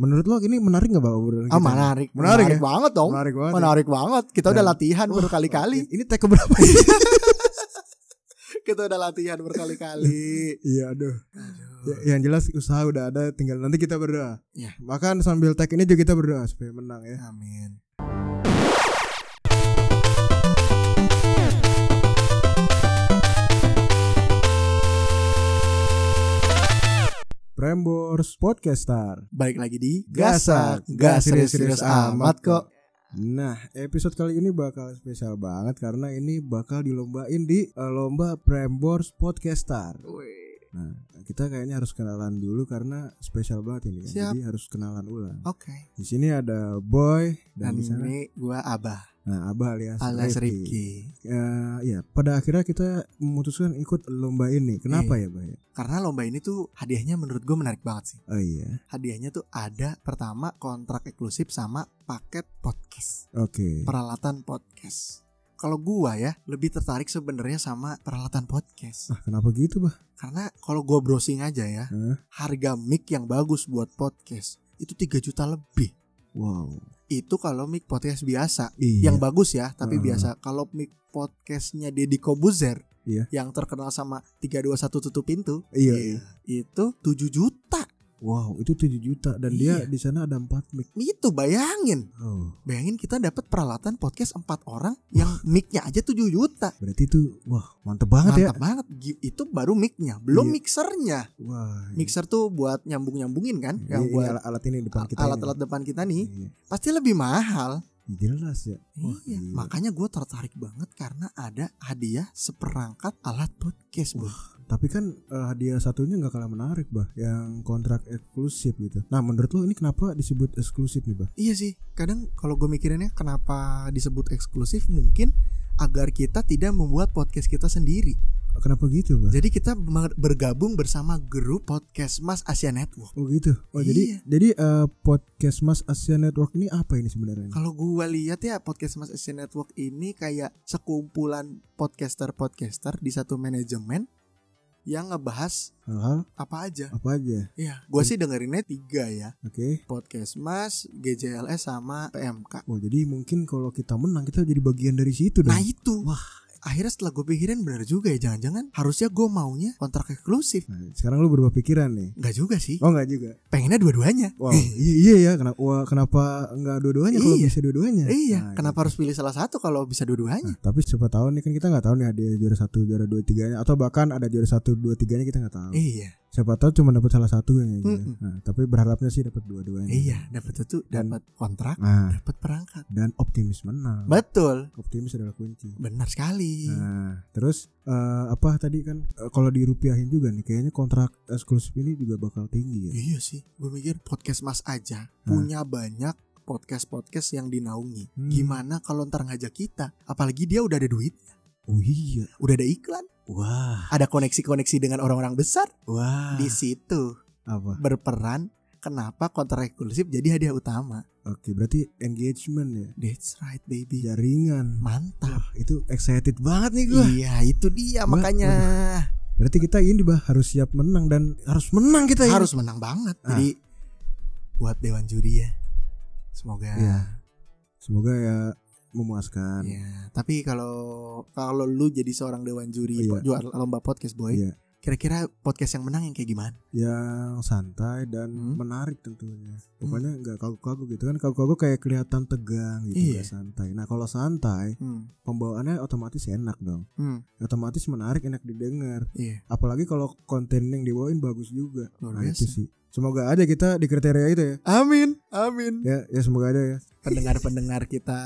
Menurut lo ini menarik nggak bang obrolan Ah kita? menarik, Gitu Menarik ya? Nah. banget dong. Menarik banget. Menarik banget. Kita udah Dan- latihan berkali-kali. Ini take berapa sih? Kita udah latihan berkali-kali. Iya, aduh. Ya, yang jelas usaha udah ada, tinggal nanti kita berdoa. Iya. Bahkan sambil tag ini juga kita berdoa supaya menang ya. Amin. Prambors Podcaster. Balik lagi di Gasak. Gasak. Gak Gak serius-serius amat kok. Nah, episode kali ini bakal spesial banget karena ini bakal dilombain di eh, lomba Prambors Podcaster. Nah, kita kayaknya harus kenalan dulu karena spesial banget ini kan. Siap. Jadi harus kenalan ulang. Oke. Di sini ada Boy dan Dan di sana ini gua Abah nah Abah alias, alias Rifki. Rifki. Eh, ya, pada akhirnya kita memutuskan ikut lomba ini. Kenapa ya, Iya. Boy? Karena lomba ini tuh hadiahnya menurut gue menarik banget sih. Oh iya. Hadiahnya tuh ada pertama kontrak eksklusif sama paket podcast. Oke. peralatan podcast. Kalau gua ya lebih tertarik sebenarnya sama peralatan podcast. Ah, kenapa gitu, Bah? Karena kalau gua browsing aja ya, Hah? harga mic yang bagus buat podcast itu 3 juta lebih. Wow. Itu kalau mic podcast biasa. Iya. Hmm. Yang bagus ya, tapi Heeh. biasa. Kalau mic podcastnya Deddy Kobuzer Iya. yang terkenal sama 321 tutup pintu, Iya, ya, iya. itu 7 juta. Wow, itu 7 juta dan dia Iya. di sana ada 4 mic. Itu bayangin. Oh, Bayangin kita dapat peralatan podcast 4 orang yang mic-nya aja 7 juta. berarti itu wah, mantep banget ya. mantap banget Gi- itu baru micnya Iya. belum mixernya Wah. mixer tuh buat nyambung nyambungin kan ini- yang ini buat alat, alat ini depan kita. alat-alat depan kita ini. nih Iya. pasti lebih mahal Ya, jelas ya. Wah, iya. gila. makanya gue tertarik banget karena ada hadiah seperangkat alat podcast bu Tapi kan eh, hadiah satunya nggak kalah menarik, Bah, yang kontrak eksklusif gitu. Nah, menurut lo ini kenapa disebut eksklusif nih, Bah? iya sih kadang kalau gue mikirinnya kenapa disebut eksklusif mungkin agar kita tidak membuat podcast kita sendiri Kenapa gitu, Bah? jadi kita mer- bergabung bersama grup podcast Mas Asia Network Oh gitu. Oh jadi Iya. jadi eh, podcast Mas Asia Network ini apa ini sebenarnya? Kalau gua lihat ya podcast Mas Asia Network ini kayak sekumpulan podcaster-podcaster di satu manajemen yang ngebahas Hal-hal apa aja. apa aja? Iya, gua sih dengerinnya tiga ya. Oke. Podcast Mas, GJLS sama PMK. Oh jadi mungkin kalau kita menang kita jadi bagian dari situ dong. Nah itu. Wah, akhirnya setelah gue pikirin bener juga ya jangan-jangan harusnya gue maunya kontrak eksklusif. Nah, sekarang lu berubah pikiran nih. Enggak juga sih. Oh enggak juga. Pengennya dua-duanya. Wow. Eh, iya, iya ya, kenapa wah, kenapa enggak dua-duanya kalau Iya. bisa dua-duanya? Iya, Nah, kenapa harus pilih salah satu kalau bisa gitu. dua-duanya? Nah, tapi siapa tahu nih kan kita nggak tahu nih ada juara satu, juara dua, tiganya atau bahkan ada juara satu, dua, tiganya kita nggak tahu. Iya, Siapa tahu cuma dapat salah satu aja. Mm-mm. Nah, tapi berharapnya sih dapat dua-duanya. iya, dapat itu Nah. Dan- dapat kontrak, Nah, dapat perangkat. dan optimis menang. Betul. optimis adalah kunci. Benar sekali. Nah, terus eh, apa tadi kan eh, kalau dirupiahin juga nih kayaknya kontrak eksklusif ini juga bakal tinggi ya. Iya sih, gue mikir podcast Mas aja Hmm. punya banyak podcast-podcast yang dinaungi. Hmm. Gimana kalau ntar ngajak kita? Apalagi dia udah ada duit, Oh iya. udah ada iklan, Wah, ada koneksi-koneksi dengan orang-orang besar. wah. Di situ Apa? berperan kenapa kontrak eksklusif jadi hadiah utama. Oke, berarti engagement ya. That's right baby. Jaringan. Mantap. Itu excited banget nih gue. Iya, itu dia Wah, makanya Berarti kita ini bah harus siap menang dan harus menang kita ini. harus menang banget. Ah. Jadi buat dewan juri ya. Semoga Iya. Semoga ya memuaskan. Ya, tapi kalau kalau lu jadi seorang dewan juri Iya. jual lomba podcast boy, Iya. kira-kira podcast yang menang yang kayak gimana? Yang ya santai dan Hmm. menarik tentunya. Pokoknya nggak kagok-kagok gitu kan. Kagok-kagok kayak kelihatan tegang gitu Iya. nggak santai. Nah, kalau santai, Hmm, pembawaannya otomatis enak dong. hmm, Otomatis menarik, enak didengar. iya, Apalagi kalau konten yang dibawain bagus juga. luar Nah, itu biasa. sih. Semoga aja kita di kriteria itu ya. Amin, amin. Ya, ya semoga ada ya. Pendengar-pendengar kita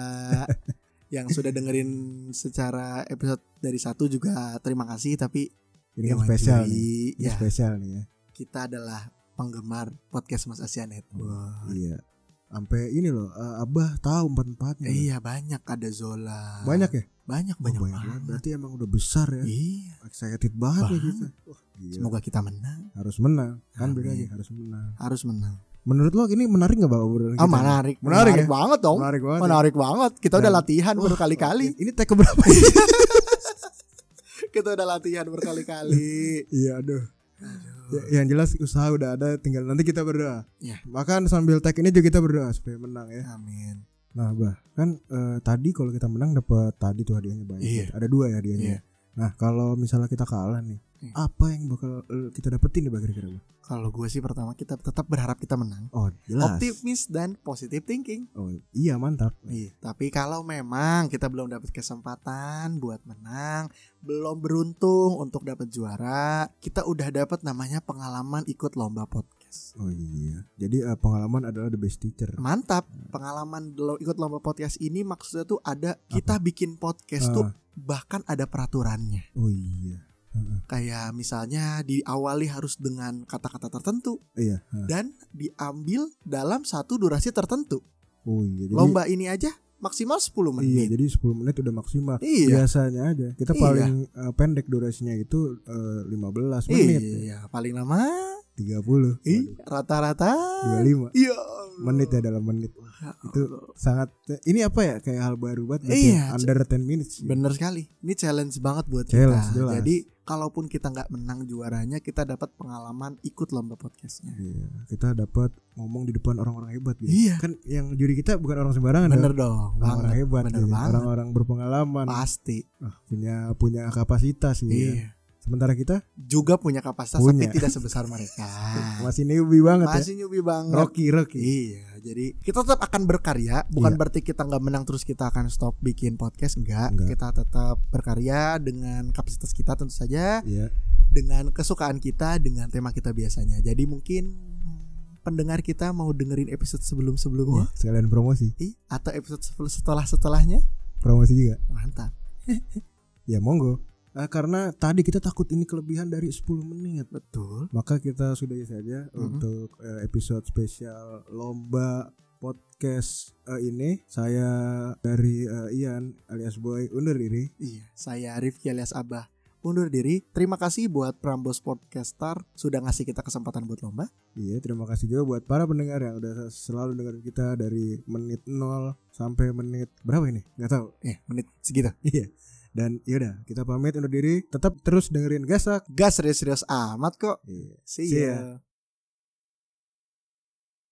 yang sudah dengerin secara episode dari satu juga terima kasih, tapi Ini kan dewan spesial juri, nih. Ini ya spesial nih ya. kita adalah penggemar podcast Mas Asia Network. Iya. Sampai ini loh, eh, Abah tahu empat-empatnya. loh. Iya banyak ada Zola. Banyak ya? banyak Oh, banyak, banget. banget. Berarti emang udah besar ya. Iya. Excited banget ya Banget. kita. Wah, gila. Semoga kita menang. harus menang. Kan beda Amin. lagi harus menang. Harus menang. Menurut lo ini menarik gak Bang obrolan Ah kita? menarik, Menarik ya? banget dong. Menarik banget. ya. Menarik banget. Kita udah Dan- latihan Wah, berkali-kali. Ini take berapa sih? Kita udah latihan berkali-kali. Iya, aduh. Ya, yang jelas usaha udah ada, tinggal nanti kita berdoa. Iya. Bahkan sambil tag ini juga kita berdoa supaya menang ya. Amin. Nah, bah, kan eh, tadi kalau kita menang dapat tadi tuh hadiahnya banyak. Iya. Ada dua ya hadiahnya. Nah, kalau misalnya kita kalah nih, Iya. apa yang bakal eh, kita dapetin nih bah kira-kira? Bah? Kalau gue sih pertama kita tetap berharap kita menang. Oh, jelas. Optimis dan positive thinking. Oh, iya mantap. Iya. Tapi kalau memang kita belum dapat kesempatan buat menang, belum beruntung untuk dapat juara, kita udah dapat namanya pengalaman ikut lomba podcast. Oh iya. Jadi eh, pengalaman adalah the best teacher. Mantap. Pengalaman lo ikut lomba podcast ini maksudnya tuh ada kita bikin podcast tuh Ah, bahkan ada peraturannya. oh iya. kayak misalnya diawali harus dengan kata-kata tertentu Iya. ah. dan diambil dalam satu durasi tertentu. Oh iya. Jadi, Lomba ini aja maksimal 10 Iya, menit. jadi 10 menit udah maksimal. Iya. Biasanya aja. Kita Iya. paling eh, pendek durasinya itu eh, 15 menit. Iya, paling lama 30. ih, rata-rata 25 Iya. menit ya dalam menit. Itu sangat ini apa ya kayak hal baru banget gitu Iya, ya, under 10 minutes. ya. Bener sekali. Ini challenge banget buat Challenge, kita. jelas. Jadi kalaupun kita nggak menang juaranya, kita dapat pengalaman ikut lomba podcastnya. Iya, kita dapat ngomong di depan orang-orang hebat gitu. Iya. Kan yang juri kita bukan orang sembarangan. Bener dong. Orang-orang dong, banget. hebat, Bener gitu. banget. orang-orang berpengalaman, Pasti. Ah, punya punya kapasitas gitu. ya. Iya. Sementara kita Juga punya kapasitas Punya. tapi tidak sebesar mereka. masih newbie banget ya. Masih newbie banget. Rocky Rocky. Iya, jadi kita tetap akan berkarya. Bukan Iya. berarti kita nggak menang terus kita akan stop bikin podcast enggak. Enggak. Kita tetap berkarya dengan kapasitas kita tentu saja, Iya. dengan kesukaan kita, dengan tema kita biasanya. Jadi mungkin hmm, pendengar kita mau dengerin episode sebelum-sebelumnya, Iya. Sekalian promosi. ih, atau episode sebel- setelah-setelahnya, Promosi juga. mantap. Ya monggo. Nah, karena tadi kita takut ini kelebihan dari 10 menit. Betul. Maka kita sudahi saja Mhm. untuk eh, episode spesial lomba podcast eh, ini. Saya dari eh, Ian alias Boy undur diri. Iya, saya Rifki alias Abah. Undur diri. Terima kasih buat Prambos Podcaster sudah ngasih kita kesempatan buat lomba. Iya, terima kasih juga buat para pendengar yang udah selalu dengerin kita dari menit 0 sampai menit berapa ini? Gak tahu. Eh, menit segitu. Iya. Dan yaudah, kita pamit undur diri. Tetap terus dengerin Gasak. Gas serius-serius amat kok. Iya. See See ya. ya.